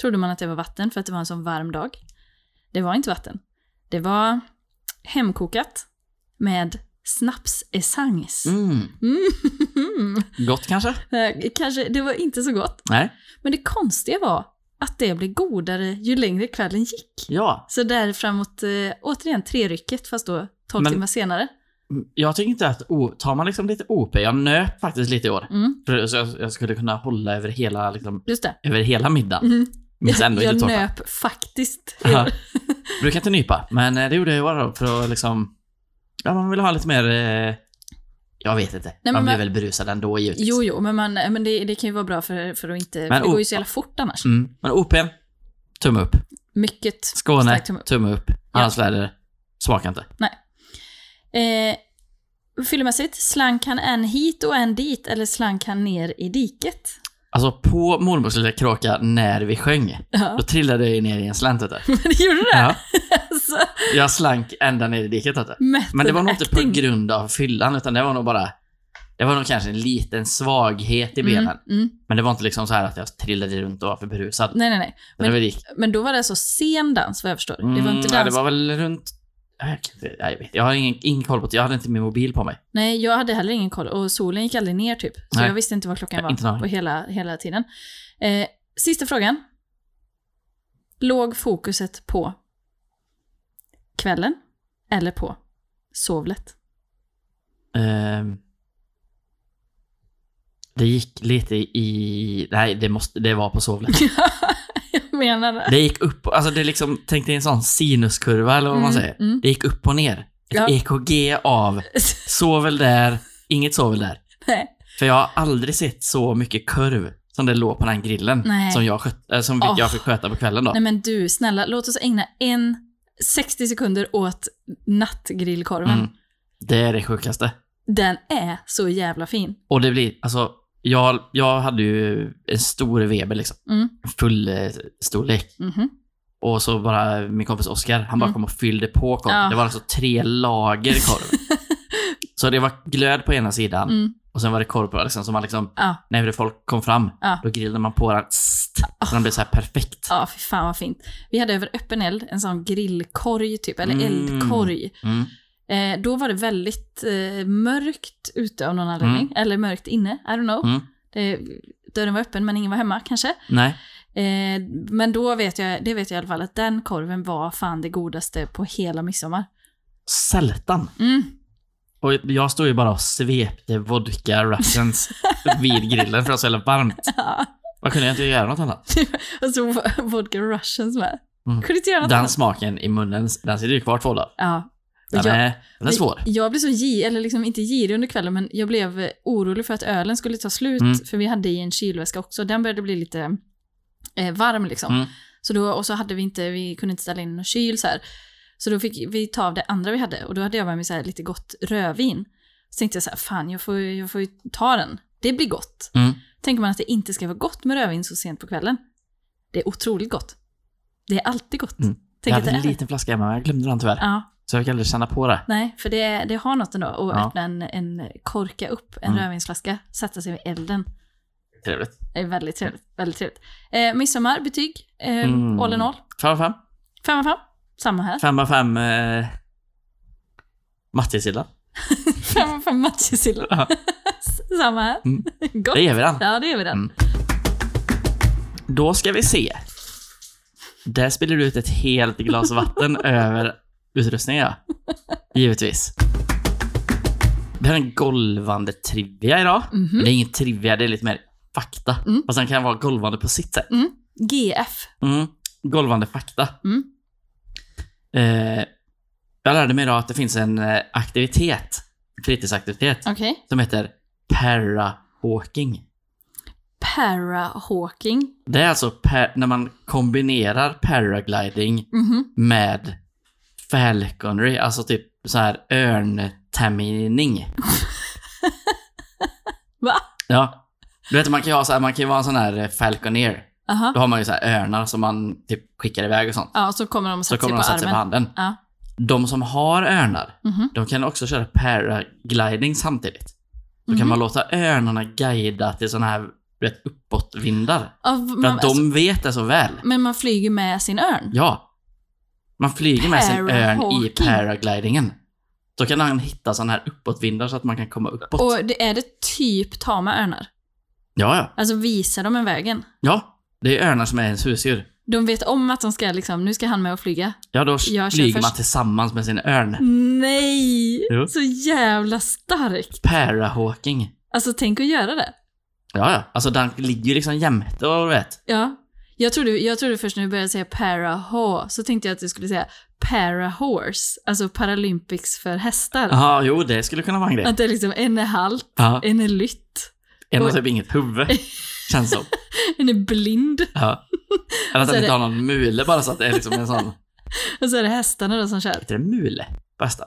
S1: Trodde man att det var vatten för att det var en sån varm dag. Det var inte vatten. Det var hemkokat med snapsessens.
S2: Mm.
S1: Mm. [laughs]
S2: Gott kanske?
S1: Eh, Kanske, det var inte så gott.
S2: Nej.
S1: Men det konstiga var att det blev godare ju längre kvällen gick.
S2: Ja.
S1: Så där framåt, eh, återigen, trerycket, fast då 12
S2: Men-
S1: timmar senare.
S2: Jag tycker inte att... O, tar man liksom lite OP, jag nöp faktiskt lite i år.
S1: Mm,
S2: För så jag, jag skulle kunna hålla över hela, liksom,
S1: just det.
S2: över
S1: [laughs]
S2: hela middagen.
S1: Mm.
S2: Men sen då
S1: jag
S2: inte tårta.
S1: nöp faktiskt.
S2: Ja. [laughs] Brukar inte nypa, men eh, det gjorde jag i år då för att liksom... Ja, man vill ha lite mer... Eh, jag vet inte.
S1: men
S2: man blir
S1: man-
S2: väl berusad ändå givetvis.
S1: Jo, jo, men, man, men det, det kan ju vara bra för, för att inte...
S2: Men
S1: för det går ju
S2: o-
S1: så jävla fort annars.
S2: Mm. Men OP'n, tumme upp.
S1: Mycket
S2: Skåne,
S1: stark tumme upp.
S2: tumme upp. Annars lär det smaka inte.
S1: Eh, Fyllmässigt, slank han en hit och en dit eller slank han ner i diket?
S2: Alltså på mormors lilla kråka när vi sjöng,
S1: Ja,
S2: [laughs] då trillade jag ju ner i en slänt vet du.
S1: det gjorde det.
S2: Ja,
S1: Alltså,
S2: jag slank ända ner i diket vet du.
S1: method
S2: Men det var nog inte på
S1: acting.
S2: grund av fyllan, utan det var nog bara... Det var nog kanske en liten svaghet i benen.
S1: Mm, mm.
S2: Men det var inte liksom så här att jag trillade runt och var för berusad.
S1: Nej, nej, nej.
S2: Men, det väl gick.
S1: Men då var det alltså sen dans, vad jag förstår. det var
S2: Mm,
S1: inte
S2: ja,
S1: dans.
S2: det var väl runt... Nej, jag vet inte. jag vet. Jag har ingen, ingen koll på det. Jag hade inte min mobil på mig.
S1: Nej, jag hade heller ingen koll och solen gick aldrig ner typ. Så
S2: Nej.
S1: jag visste inte vad klockan
S2: Nej,
S1: var
S2: inte en aning.
S1: på hela, hela tiden. Eh, sista frågan. Låg fokuset på kvällen eller på sovlet? [laughs]
S2: Ehm, det gick lite i... Nej, det, måste, det var
S1: [laughs]
S2: på sovlet.
S1: jag menar det.
S2: Det gick upp... Alltså det liksom... Tänk dig en sån sinuskurva eller vad man
S1: Mm,
S2: säger.
S1: mm.
S2: Det gick upp och ner. Ett
S1: Ja.
S2: EKG av sovel där, inget sovel där.
S1: Nej.
S2: För jag har aldrig sett så mycket kurv som det låg på den här grillen.
S1: Nej.
S2: Som, jag, sköt, äh, som vi-
S1: Åh.
S2: jag fick sköta på kvällen då.
S1: Nej men du, snälla, låt oss ägna en 60 sekunder åt nattgrillkorven.
S2: Mm. Det är det sjukaste.
S1: Den är så jävla fin.
S2: Och det blir, alltså, jag, jag hade ju en stor Weber liksom.
S1: Mm.
S2: Full eh, storlek.
S1: Mhm.
S2: Och så bara min kompis Oskar, han bara
S1: Mm.
S2: kom och fyllde på korven.
S1: Ja.
S2: Det var alltså tre lager
S1: [laughs]
S2: korv. så det var glöd på ena sidan
S1: Mm.
S2: och sen var det korv på liksom, som man liksom,
S1: Ja,
S2: när folk kom fram,
S1: Ja.
S2: då grillade man på den. St, så den blev så här perfekt.
S1: ja fy fan vad fint. Vi hade över öppen eld en sån grillkorg typ, eller
S2: Mm.
S1: eldkorg.
S2: Mm.
S1: Eh, då var det väldigt eh, mörkt ute av någon anledning, eller mörkt inne, I don't know.
S2: Mm.
S1: Det, dörren var öppen men ingen var hemma kanske.
S2: Nej.
S1: Eh, men då vet jag, det vet jag i alla fall, att den korven var fan det godaste på hela midsommar.
S2: Sältan.
S1: Mm. [laughs]
S2: Och jag stod ju bara och svepte
S1: [laughs]
S2: vodka Russians vid grillen för att det var så jävla varmt.
S1: Ja.
S2: Vad kunde jag inte göra något annat?
S1: Och så v- vodka russians med.
S2: Mm.
S1: Kunde inte göra något
S2: Den
S1: annat.
S2: smaken i munnen, den sitter ju kvar två dagar.
S1: Ja.
S2: Den,
S1: Jag-
S2: är, den är svår.
S1: Jag blev så girig, eller liksom inte girig under kvällen, men jag blev eh, orolig för att ölen skulle ta slut,
S2: Mm.
S1: för vi hade i en kylväska också. Den började bli lite eh, varm liksom.
S2: Mm.
S1: Så då, och så hade vi inte, vi kunde inte ställa in någon kyl så här. Så då fick vi ta av det andra vi hade och då hade jag med mig så här lite gott rödvin. Så tänkte jag så här, fan jag får, ju- jag får ju ta den. Det blir gott.
S2: Mm.
S1: Tänker man att det inte ska vara gott med rödvin så sent på kvällen. Det är otroligt gott. Det är alltid gott.
S2: Mm. Jag
S1: Tänk att
S2: hade
S1: det
S2: en
S1: är det.
S2: liten flaska hemma, men jag glömde den tyvärr.
S1: Ja,
S2: Så jag fick aldrig känna på det.
S1: Nej, för det, det har något ändå att
S2: Ja.
S1: öppna en, en, korka upp en
S2: Mm.
S1: rödvinsflaska, sätta sig vid elden.
S2: Trevligt.
S1: Det är väldigt trevligt. Väldigt trevligt. Eh, midsommar, betyg, eh,
S2: Mm.
S1: all in all.
S2: Fem av fem.
S1: Fem av fem. Samma här.
S2: Fem av fem eh, Mattisgillar.
S1: Fem av fem matjessill.
S2: Ja.
S1: [laughs] Samma här.
S2: Mm.
S1: [laughs] Gott.
S2: Det ger vi den.
S1: Ja, det gör vi den.
S2: Mm. Då ska vi se. Där spiller du ut ett helt
S1: [laughs]
S2: glas vatten över utrustningen, ja. Givetvis. Vi har en golvande trivia idag. Men
S1: Mhm.
S2: det är ingen trivia, det är lite mer fakta.
S1: Mm.
S2: Fast den kan vara golvande på sitt sätt.
S1: GF.
S2: Mm. Golvande fakta.
S1: Mm.
S2: Eh, jag lärde mig idag att det finns en eh, aktivitet, fritidsaktivitet,
S1: Okej.
S2: som heter parahawking.
S1: Parahawking.
S2: Det är alltså pa- när man kombinerar paragliding
S1: Mhm.
S2: med falconry, alltså typ så här örntamining.
S1: [laughs] Va?
S2: Ja. Du vet, man kan ju ha så här, man kan ju vara en sån här eh, falconer.
S1: Aha.
S2: Då har man ju så här örnar som man typ skickar iväg och sånt.
S1: Ja, och så kommer de och
S2: Så
S1: sätter sig på
S2: kommer de sätta sig på
S1: armen.
S2: handen.
S1: Ja.
S2: De som har örnar,
S1: Mhm.
S2: de kan också köra paragliding samtidigt. Då kan
S1: Mhm.
S2: man låta örnarna guida till såna här du vet, uppåtvindar.
S1: Ja,
S2: För
S1: man,
S2: att de
S1: alltså,
S2: vet det så väl.
S1: men man flyger med sin örn.
S2: Ja. Man flyger med sin örn i
S1: Parahawking.
S2: paraglidingen. Då kan han hitta sådana här uppåtvindar så att man kan komma uppåt.
S1: Och det, är det typ tama örnar?
S2: Ja, ja.
S1: Alltså visar de en vägen?
S2: Ja. Det är örnar som är ens husdjur.
S1: De vet om att de ska liksom, nu ska han med och flyga.
S2: Ja, då
S1: kör
S2: flyger man
S1: först.
S2: tillsammans med sin örn.
S1: Nej!
S2: Jo.
S1: Så jävla starkt!
S2: Parahawking.
S1: Alltså tänk att göra det.
S2: Ja, ja. Alltså den ligger ju liksom jämte och du vet.
S1: Ja. Jag trodde, jag trodde först när du började säga para-ha så tänkte jag att du skulle säga para-horse, alltså Paralympics för hästar.
S2: Ja, jo, det skulle kunna vara en grej.
S1: Att det är liksom, en är halt,
S2: Ja,
S1: en är lytt,
S2: en har typ inget huvud. Känns som.
S1: en är blind. [laughs]
S2: Ja. Eller att
S1: Så är
S2: den inte
S1: det-
S2: har någon mule bara så att det är liksom en sån...
S1: Och så är det hästarna då som kör.
S2: Heter det mule? Bästa.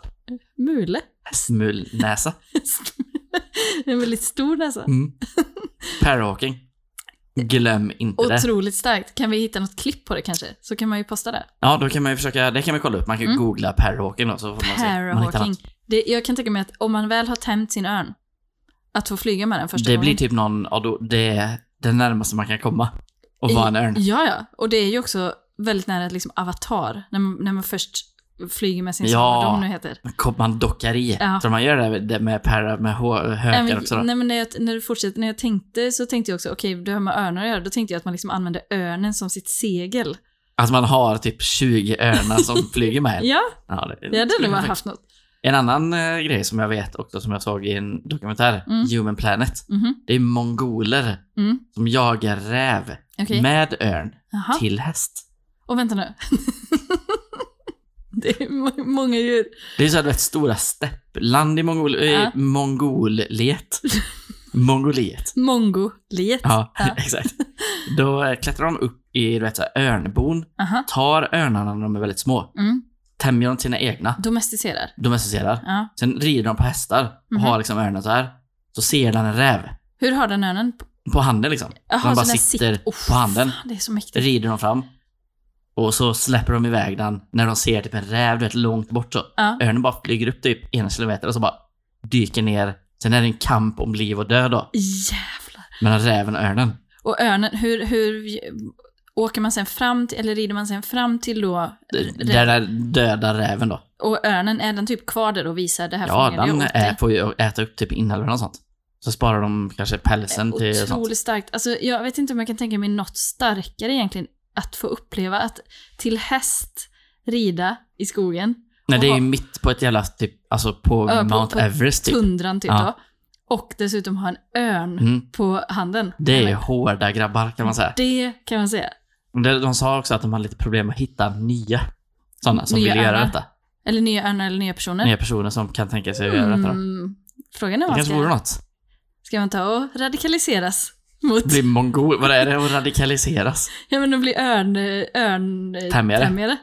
S1: Mule. [laughs]
S2: Hästmulnäsa.
S1: en väldigt stor näsa.
S2: [laughs] Mm. Parahawking. Glöm inte det.
S1: Otroligt starkt. Kan vi hitta något klipp på det kanske? Så kan man ju posta det.
S2: Ja, då kan man ju försöka, det kan man kolla upp. Man kan ju
S1: Mm.
S2: googla parahawking då, så får man se. om man hittar
S1: Parahawking. Det, jag kan tänka mig att om man väl har tämt sin örn, att få flyga med den
S2: något.
S1: första
S2: Det
S1: gången.
S2: blir typ någon, ja, då, det är det närmaste man kan komma. Och vara en örn.
S1: Ja, ja. Och det är ju också väldigt nära liksom avatar, när man, när man först flyger med sin
S2: Ja.
S1: ja. vad de nu heter.
S2: Kom- Man dockar i.
S1: Ja.
S2: Tror man gör det med- det med para, med hå-
S1: Nej,
S2: hökar
S1: men,
S2: också då?
S1: nej, men när, jag, när du fortsätter, när jag tänkte så tänkte jag också, okej, det har med örnar att göra, då tänkte jag att man liksom använder örnen som sitt segel.
S2: Att man har typ 20
S1: [laughs]
S2: örnar som flyger med en.
S1: Ja,
S2: Ja, det,
S1: det hade
S2: skulle
S1: nog
S2: man
S1: haft något.
S2: En annan eh, grej som jag vet också som jag såg i en dokumentär,
S1: Mm.
S2: Human Planet.
S1: Mhm,
S2: Det är mongoler
S1: Mm.
S2: som jagar räv
S1: Okej.
S2: med örn
S1: Jaha.
S2: till häst.
S1: Och vänta nu. [laughs] det är må- många djur.
S2: Det är så här, du vet, stora steppland i Mongol... Äh.
S1: Ja. [laughs]
S2: Mongoliet. Mongoliet.
S1: Mongoliet.
S2: Ja,
S1: Ja.
S2: [laughs] exakt. Då eh, klättrar de upp i du vet, så här, örnbon,
S1: Aha.
S2: tar örnarna när de är väldigt små,
S1: Mm.
S2: tämjer de sina egna,
S1: Domesticerar.
S2: domesticerar.
S1: Ja.
S2: Sen rider de på hästar och
S1: Mhm.
S2: har liksom örnen så här. Så ser den en räv
S1: Hur har den örnen?
S2: på handen liksom.
S1: Jaha,
S2: de bara
S1: den
S2: sitter
S1: Uff,
S2: på handen.
S1: Fan, det är så mäktigt.
S2: rider de fram. Och så släpper de iväg den när de ser typ en räv du vet, långt bort så.
S1: Ja.
S2: Örnen bara flyger upp typ en kilometer och så bara dyker ner. Sen är det en kamp om liv och död då.
S1: Jävlar.
S2: Mellan räven och örnen.
S1: Och örnen, hur, hur åker man sen fram till, eller rider man sen fram till då?
S2: D- Där är döda räven då.
S1: Och örnen, är den typ kvar där och visar det här
S2: Ja,
S1: fungerar ju
S2: den
S1: åt
S2: är
S1: dig?
S2: på att äta upp typ inälvor och sånt. Så sparar de kanske pälsen till sånt.
S1: Otroligt starkt. Alltså, jag vet inte om jag kan tänka mig något starkare egentligen. Att få uppleva att till häst rida i skogen,
S2: Nej, det är ju
S1: Oha.
S2: mitt på ett jävla typ, alltså på
S1: Ja, på-
S2: Mount
S1: på
S2: Everest typ.
S1: tundran typ
S2: Ja.
S1: då. Och dessutom ha en örn
S2: Mm.
S1: på handen.
S2: Det är ju
S1: Men
S2: hårda grabbar kan man säga.
S1: Det kan man säga.
S2: De de sa också att de hade lite problem att hitta nya sådana som
S1: Nya
S2: vill göra
S1: örnar.
S2: detta.
S1: Eller nya örnar eller nya personer.
S2: nya personer som kan tänka sig att göra detta. då.
S1: Mm, Frågan är
S2: Det
S1: vad man
S2: kanske vore
S1: ska,
S2: något.
S1: ska man ta och radikaliseras mot...
S2: Bli mongol, vad är det? Och radikaliseras.
S1: [laughs] Ja men att bli örn... örn
S2: Tämjare.
S1: tämjare.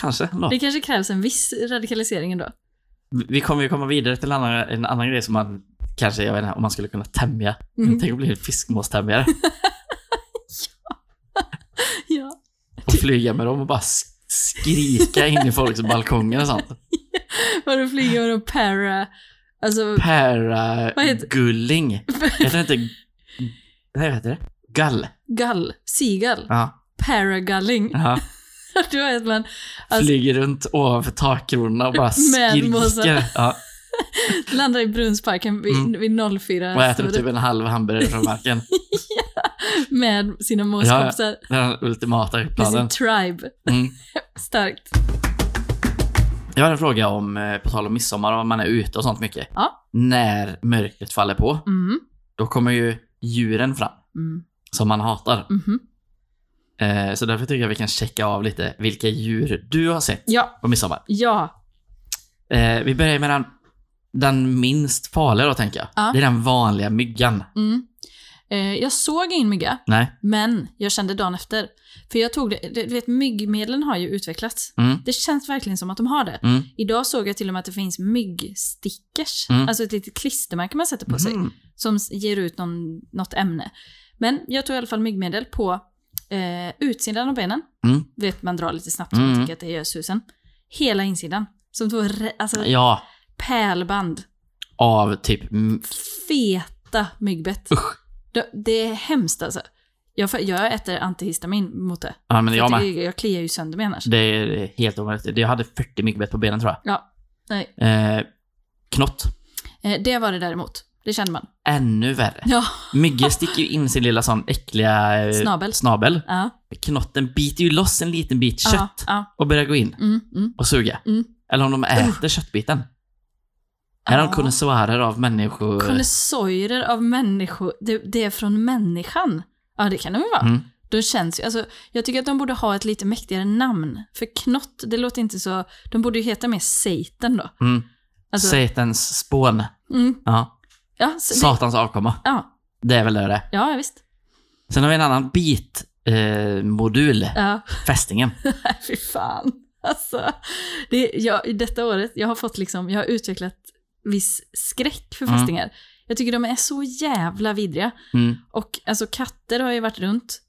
S2: Kanske. ändå.
S1: Det kanske krävs en viss radikalisering ändå. [laughs]
S2: Vi kommer ju komma vidare till en annan, en annan grej som man kanske, jag vet inte, om man skulle kunna tämja.
S1: Mm.
S2: Tänk att bli en fiskmåstämjare
S1: Ja.
S2: och flyga med dem och bara sk- skrika in i folks balkonger och sånt.
S1: Var du flyger med och para... Alltså... Vad heter-
S2: Paragulling. Heter det inte... Nej, vad heter det? Gall.
S1: Gall. Sigall.
S2: Ja.
S1: Paragulling.
S2: ja.
S1: [laughs] Du vet man... Alltså-
S2: Flyger runt ovanför takkronorna och bara
S1: [laughs] Med måsar.
S2: skriker. Ja.
S1: Landar i Brunnsparken vid,
S2: Mm.
S1: vid 04.
S2: Och äter
S1: så
S2: typ en halv hamburgare från marken.
S1: Med sina måskompisar.
S2: Det är Den
S1: [laughs]
S2: ultimata
S1: Med sin
S2: planen.
S1: tribe.
S2: Mm.
S1: Starkt.
S2: Jag har en fråga om, eh, på tal om midsommar, om man är ute och sånt mycket.
S1: Ja.
S2: När mörkret faller på,
S1: Mm.
S2: då kommer ju djuren fram,
S1: Mm.
S2: som man hatar.
S1: Mhm.
S2: Eh, så därför tycker jag vi kan checka av lite vilka djur du har sett
S1: Ja.
S2: på midsommar.
S1: Ja.
S2: Eh, vi börjar med den, den minst farliga då, tänker jag.
S1: Ja.
S2: Det är den vanliga myggan.
S1: Mm. Eh, jag såg ingen mygga.
S2: Nej.
S1: Men jag kände dagen efter. För jag tog det, du vet myggmedlen har ju utvecklats.
S2: Mm.
S1: Det känns verkligen som att de har det.
S2: Mm.
S1: Idag såg jag till och med att det finns myggstickers.
S2: Mm.
S1: Alltså ett litet klistermärke man sätter på sig.
S2: Mm.
S1: Som s- ger ut någon, något ämne. Men jag tog i alla fall myggmedel på eh, utsidan av benen.
S2: Mm.
S1: Du vet man drar lite snabbt så man
S2: Mm.
S1: tycker att det gör susen. Hela insidan. Som två re- alltså,
S2: Ja,
S1: pärlband.
S2: av typ... mm,
S1: Feta myggbett.
S2: Usch.
S1: Det, det är hemskt alltså. Jag, får- jag äter antihistamin mot det.
S2: Ja, men jag
S1: För att
S2: med.
S1: jag, jag kliar ju sönder mig annars.
S2: Det är helt omöjligt. Jag hade 40 myggbett på benen tror jag.
S1: Ja, nej.
S2: Eh, knott.
S1: Eh, Det var det däremot. Det kände man.
S2: Ännu värre.
S1: Ja.
S2: Mygge sticker ju in sin lilla sån äckliga eh,
S1: Snabel.
S2: snabel.
S1: Ja.
S2: knotten biter ju loss en liten bit kött
S1: Ja, ja.
S2: och börjar gå in
S1: Mm, mm.
S2: och suga.
S1: Mm.
S2: Eller om de äter köttbiten. Är de
S1: Ja.
S2: konnässörer av människor?
S1: Konnässörer av människor, det, det är från människan. Ja, det kan de väl vara.
S2: Mm.
S1: Då känns ju, alltså, jag tycker att de borde ha ett lite mäktigare namn. För knott, det låter inte så... De borde ju heta mer Satan då.
S2: Mm.
S1: Alltså-
S2: Satans spån.
S1: Mm.
S2: Ja.
S1: Ja, så det,
S2: Satans avkomma.
S1: ja,
S2: Det är väl det det är.
S1: ja, ja, visst.
S2: Sen har vi en annan bit, eh, modul,
S1: Ja,
S2: fästingen.
S1: [laughs] fy fan. Alltså, det, jag, i detta året, jag har fått liksom, jag har utvecklat viss skräck för
S2: Mm.
S1: fästingar. Jag tycker de är så jävla vidriga.
S2: Mm.
S1: Och alltså katter har ju varit runt.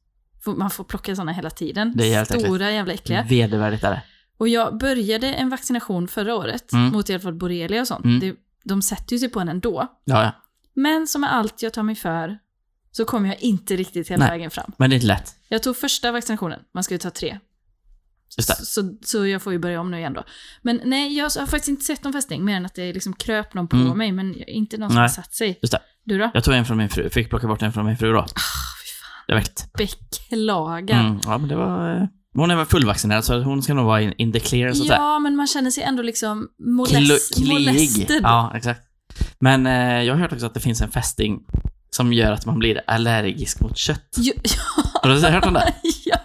S1: Får- Man får plocka sådana hela tiden.
S2: Det är jävligt
S1: Stora
S2: äckligt. Mm.
S1: jävla äckliga.
S2: Vedervärdigt är det.
S1: Och jag började en vaccination förra året
S2: Mm.
S1: mot i alla fall borrelia och sånt.
S2: Mm.
S1: Det, de sätter ju sig på en ändå.
S2: Ja, ja.
S1: Men som med allt jag tar mig för så kommer jag inte riktigt hela
S2: Nej.
S1: vägen fram.
S2: Men det är inte lätt.
S1: Jag tog första vaccinationen, man ska ju ta tre.
S2: Just det.
S1: Så, så, så jag får ju börja om nu igen då. Men nej, jag har faktiskt inte sett någon fästing mer än att det liksom kröp någon på
S2: Mm.
S1: mig, men jag- inte någon som
S2: Nej.
S1: har satt sig.
S2: Just det.
S1: Du då?
S2: Jag tog en från min fru, fick plocka bort en från min fru
S1: Ah,
S2: då. Det var äckligt.
S1: Beklagar.
S2: Mm. Ja, men det var... eh, Hon är väl fullvaccinerad, så hon ska nog vara in, in the clear, så att säga.
S1: Ja, men man känner sig ändå liksom moles-
S2: Klo- kliig.
S1: molested.
S2: Ja, exakt. Men eh, jag har hört också att det finns en fästing som gör att man blir allergisk mot kött.
S1: Jo, [laughs]
S2: Har du hört om det?
S1: ja.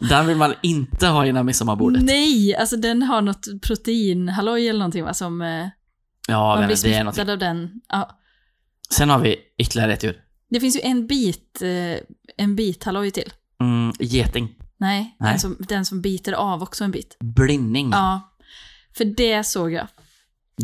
S2: Den vill man inte ha innan midsommarbordet.
S1: Nej, alltså den har något proteinhalloj eller någonting va, som eh,
S2: Ja,
S1: man
S2: men
S1: blir
S2: det är något.
S1: smittad av den. Ja.
S2: Sen har vi ytterligare ett djur.
S1: Det finns ju en bit, eh, en bit halloj till.
S2: Mm, geting.
S1: Nej,
S2: Nej. Mm.
S1: Den, som, den som biter av också en bit.
S2: Blinning.
S1: Ja, för det såg jag.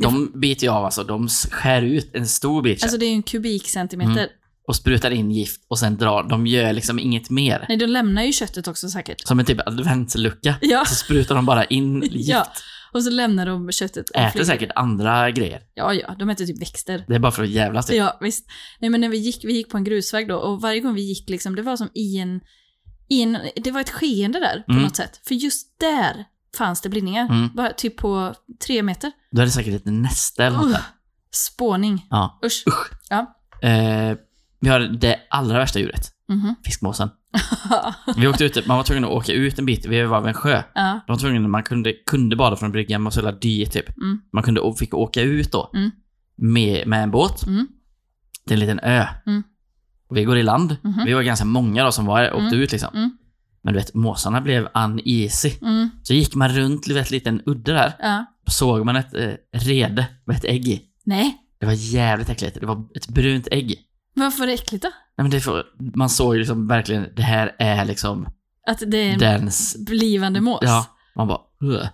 S2: De biter ju av alltså. De skär ut en stor bit kött Mm.
S1: Alltså det är ju en kubikcentimeter.
S2: och sprutar in gift och sen drar. De gör liksom inget mer.
S1: Nej, de lämnar ju köttet också säkert. [laughs]
S2: Som en typ adventslucka.
S1: Ja,
S2: Så sprutar de bara in
S1: [laughs]
S2: gift.
S1: Ja, och så lämnar de köttet. och
S2: Äter
S1: flyger.
S2: säkert andra grejer.
S1: Ja, ja, de äter typ växter.
S2: Det är bara för att jävlas typ.
S1: Ja, visst. Nej, men när vi gick, vi gick på en grusväg då och varje gång vi gick liksom, det var som i en, i en det var ett skeende där på
S2: Mm.
S1: något sätt. För just där fanns det blindningar.
S2: Mm.
S1: Bara typ på tre meter.
S2: Då är det säkert ett näste eller något
S1: Usch.
S2: där.
S1: Spåning.
S2: Ja.
S1: Usch.
S2: Eh, vi har det allra värsta djuret.
S1: Mhm. [laughs]
S2: Fiskmåsen. Vi åkte ut, man var tvungen att åka ut en bit. Vi var vid en sjö.
S1: ja.
S2: De var tvungna, man kunde, kunde bada från bryggan, man var så jävla dyr typ.
S1: Mm.
S2: Man kunde, fick åka ut då.
S1: Mm.
S2: Med, med en båt.
S1: Mm.
S2: till en liten ö.
S1: Mm.
S2: Och vi går i land.
S1: Mhm.
S2: Vi var ganska många då som var åkte
S1: Mm.
S2: ut liksom.
S1: Mm.
S2: Men du vet, måsarna blev uneasy.
S1: Mm.
S2: Så gick man runt, du vet, liten udde där.
S1: Ja.
S2: Såg man ett eh, rede med ett ägg i.
S1: Nej.
S2: Det var jävligt äckligt. Det var ett brunt ägg.
S1: Varför är det äckligt då?
S2: Nej, men det får, man såg ju liksom verkligen, det här är liksom
S1: Att det är en
S2: dens...
S1: blivande mås?
S2: Ja, man bara... "Ugh."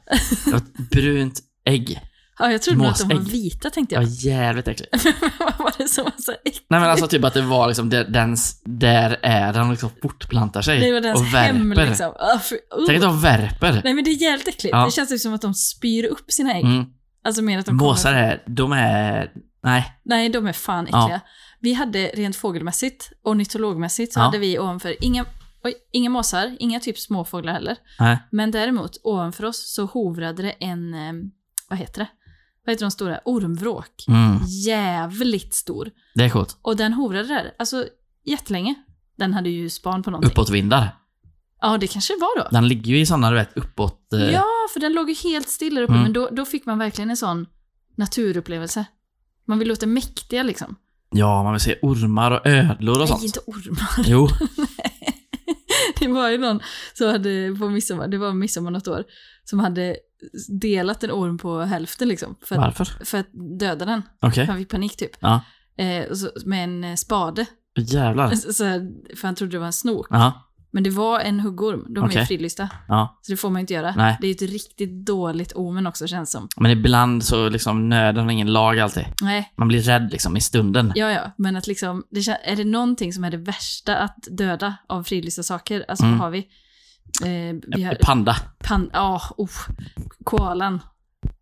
S2: Det
S1: [laughs]
S2: var ett brunt ägg.
S1: ja jag trodde nog att de var
S2: Måsägg.
S1: vita tänkte
S2: Det var
S1: jag.
S2: jävligt äckligt.
S1: [laughs] Vad var det som var så äckligt?
S2: Nej men alltså typ att det var liksom de- dens, där är den liksom fortplantar sig.
S1: Det var deras
S2: och värper.
S1: hem liksom. Ah, för, uh.
S2: Tänk att de värper.
S1: Nej men det är jävligt äckligt.
S2: Ja.
S1: Det känns typ som att de spyr upp sina ägg.
S2: Mm.
S1: Alltså mer att de kommer-
S2: Måsar är, de är, nej.
S1: Nej, de är fan äckliga. Vi hade rent fågelmässigt, ornitologmässigt, så
S2: Ja.
S1: hade vi ovanför inga, oj, inga måsar, inga typ småfåglar heller.
S2: nej.
S1: Men däremot ovanför oss så hovrade det en, eh, vad heter det? Vad heter de stora? Ormvråk.
S2: Mm.
S1: Jävligt stor.
S2: Det är coolt.
S1: Och den hovrade där, alltså jättelänge. Den hade ju span på någonting.
S2: Uppåtvindar.
S1: Ja, det kanske det var då.
S2: Den ligger ju i sådana, du vet, uppåt. eh,
S1: Ja, för den låg ju helt still där uppe,
S2: Mm.
S1: men då, då fick man verkligen en sån naturupplevelse. Man vill låta mäktiga liksom.
S2: ja, man vill se ormar och ödlor och sånt.
S1: Nej, inte ormar. [laughs]
S2: Jo.
S1: Det var ju någon som hade på midsommar, det var midsommar något år, som hade delat en orm på hälften liksom. För att,
S2: Varför?
S1: för att döda den.
S2: Okej.
S1: [laughs] Han fick panik typ.
S2: Ja.
S1: Eh, och så, med en eh, spade.
S2: Jävlar.
S1: Så, [laughs] så här, för han trodde det var en snok.
S2: Ja.
S1: Men det var en huggorm. De är
S2: Okej.
S1: ju fridlysta.
S2: Ja.
S1: Så det får man ju inte göra.
S2: Nej.
S1: Det är ju ett riktigt dåligt omen också känns som.
S2: Men ibland så liksom nöden har ingen lag alltid.
S1: Nej,
S2: Man blir rädd liksom i stunden.
S1: ja ja. Men att liksom, det, kän- är det någonting som är det värsta att döda av fridlysta saker? Alltså
S2: Mm.
S1: vad har vi? Eh, vi har
S2: Panda.
S1: pan... Ja, oh, koalan.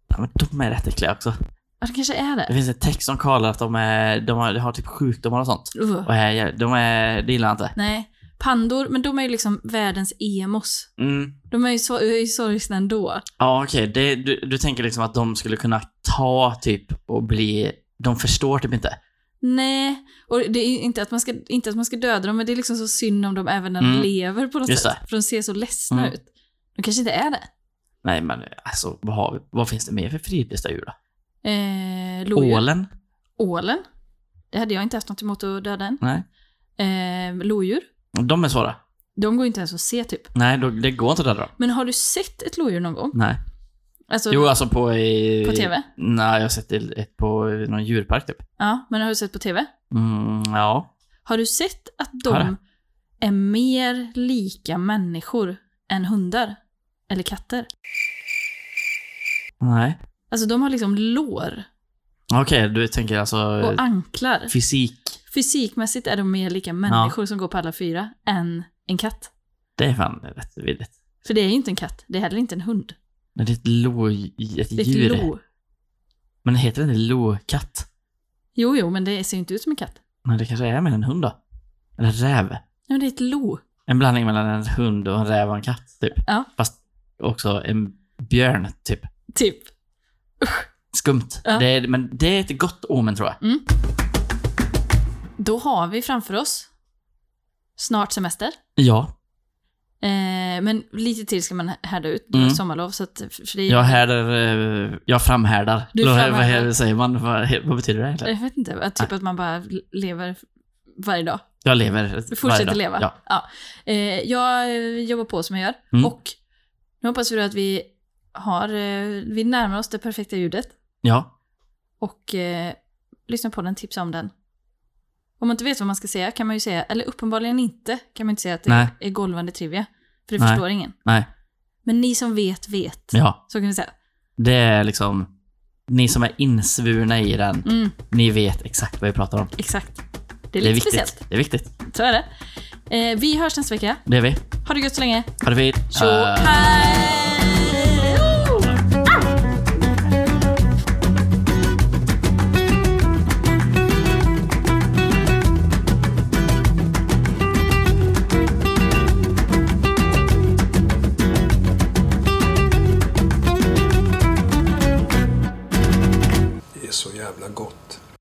S2: Ja, men de är rätt äckliga också.
S1: Ja, det kanske är
S2: Det
S1: det.
S2: finns en text som kallar att de, är, de, har, de har typ sjukdomar och sånt.
S1: Uh,
S2: Och är, de är, det gillar jag inte.
S1: nej. Pandor, men de är ju liksom världens emos.
S2: Mm.
S1: De är ju, så, är ju sorgsna ändå.
S2: Ja, okej. Det- Du, du tänker liksom att de skulle kunna ta typ och bli... De förstår typ inte.
S1: Nej, och det är inte att, man ska, inte att man ska döda dem, men det är liksom så synd om dem även när de
S2: Mm.
S1: lever på något
S2: Just
S1: sätt.
S2: det.
S1: För de ser så ledsna
S2: Mm.
S1: ut. De kanske inte är det.
S2: Nej, men alltså, vad, har vi, vad finns det mer för fridlysta djur då?
S1: Eh, lodjur.
S2: Ålen?
S1: Ålen. Det hade jag inte haft något emot att döda än.
S2: Nej.
S1: Eh, lodjur.
S2: De är svåra.
S1: De går ju inte ens att se typ.
S2: Nej, då, det går inte att döda dem.
S1: Men har du sett ett lodjur någon gång?
S2: Nej.
S1: Alltså,
S2: Jo, alltså på... I,
S1: På TV?
S2: Nej, jag har sett det ett på någon djurpark typ.
S1: Ja, men har du sett på TV?
S2: Mm, ja.
S1: Har du sett att
S2: Har
S1: de är mer lika människor än hundar? Eller katter?
S2: Nej.
S1: Alltså de har liksom lår
S2: Okej, du tänker alltså
S1: och anklar.
S2: fysik.
S1: Fysikmässigt är de mer lika människor som går på alla fyra än en katt.
S2: Det är fan rätt vidrigt.
S1: För det är ju inte en katt, det är heller inte en hund.
S2: Men det är ett lo... Ett
S1: Det är
S2: djur.
S1: ett lo.
S2: Men heter det inte lokatt?
S1: Jo, jo, men det ser ju inte ut som en katt.
S2: Nej, det kanske är mer en hund då? Eller en räv?
S1: Nej, men det är ett lo.
S2: En blandning mellan en hund och en räv och en katt, typ.
S1: Ja.
S2: Fast också en björn, typ.
S1: Typ.
S2: Skumt.
S1: Ja.
S2: Det är, men det är ett gott omen, tror jag.
S1: Då har vi framför oss snart semester.
S2: Ja.
S1: Eh, men lite till ska man härda ut. Det var
S2: Mm.
S1: sommarlov, så att... För det,
S2: Jag härdar... eh, Jag framhärdar.
S1: Du
S2: Eller vad-
S1: framhärdar.
S2: Vad säger man? Vad, vad betyder det egentligen?
S1: Jag vet inte, att typ att man bara lever varje dag.
S2: Jag lever
S1: Du
S2: varje
S1: fortsätter
S2: dag.
S1: leva.
S2: Ja.
S1: Eh, jag eh, jobbar på som jag gör.
S2: Mm.
S1: Och nu hoppas vi då att vi har... Eh, vi närmar oss det perfekta ljudet.
S2: ja.
S1: Och eh, lyssna på den, tipsa om den. Om man inte vet vad man ska säga kan man ju säga, eller uppenbarligen inte, kan man inte säga att det
S2: Nej.
S1: är golvande trivia. För det
S2: Nej.
S1: förstår ingen.
S2: Nej.
S1: Men ni som vet, vet.
S2: Ja.
S1: Så kan vi säga.
S2: Det är liksom... Ni som är insvurna i den,
S1: Mm,
S2: ni vet exakt vad vi pratar om.
S1: exakt. Det är
S2: Det är
S1: lite
S2: viktigt.
S1: speciellt.
S2: Det är viktigt.
S1: Så är det. Eh, vi hörs nästa vecka.
S2: Det är vi.
S1: Ha det gött så länge.
S2: Ha det fint.
S1: Tjo
S2: Eh,
S1: hej!
S3: Det är så jävla gott.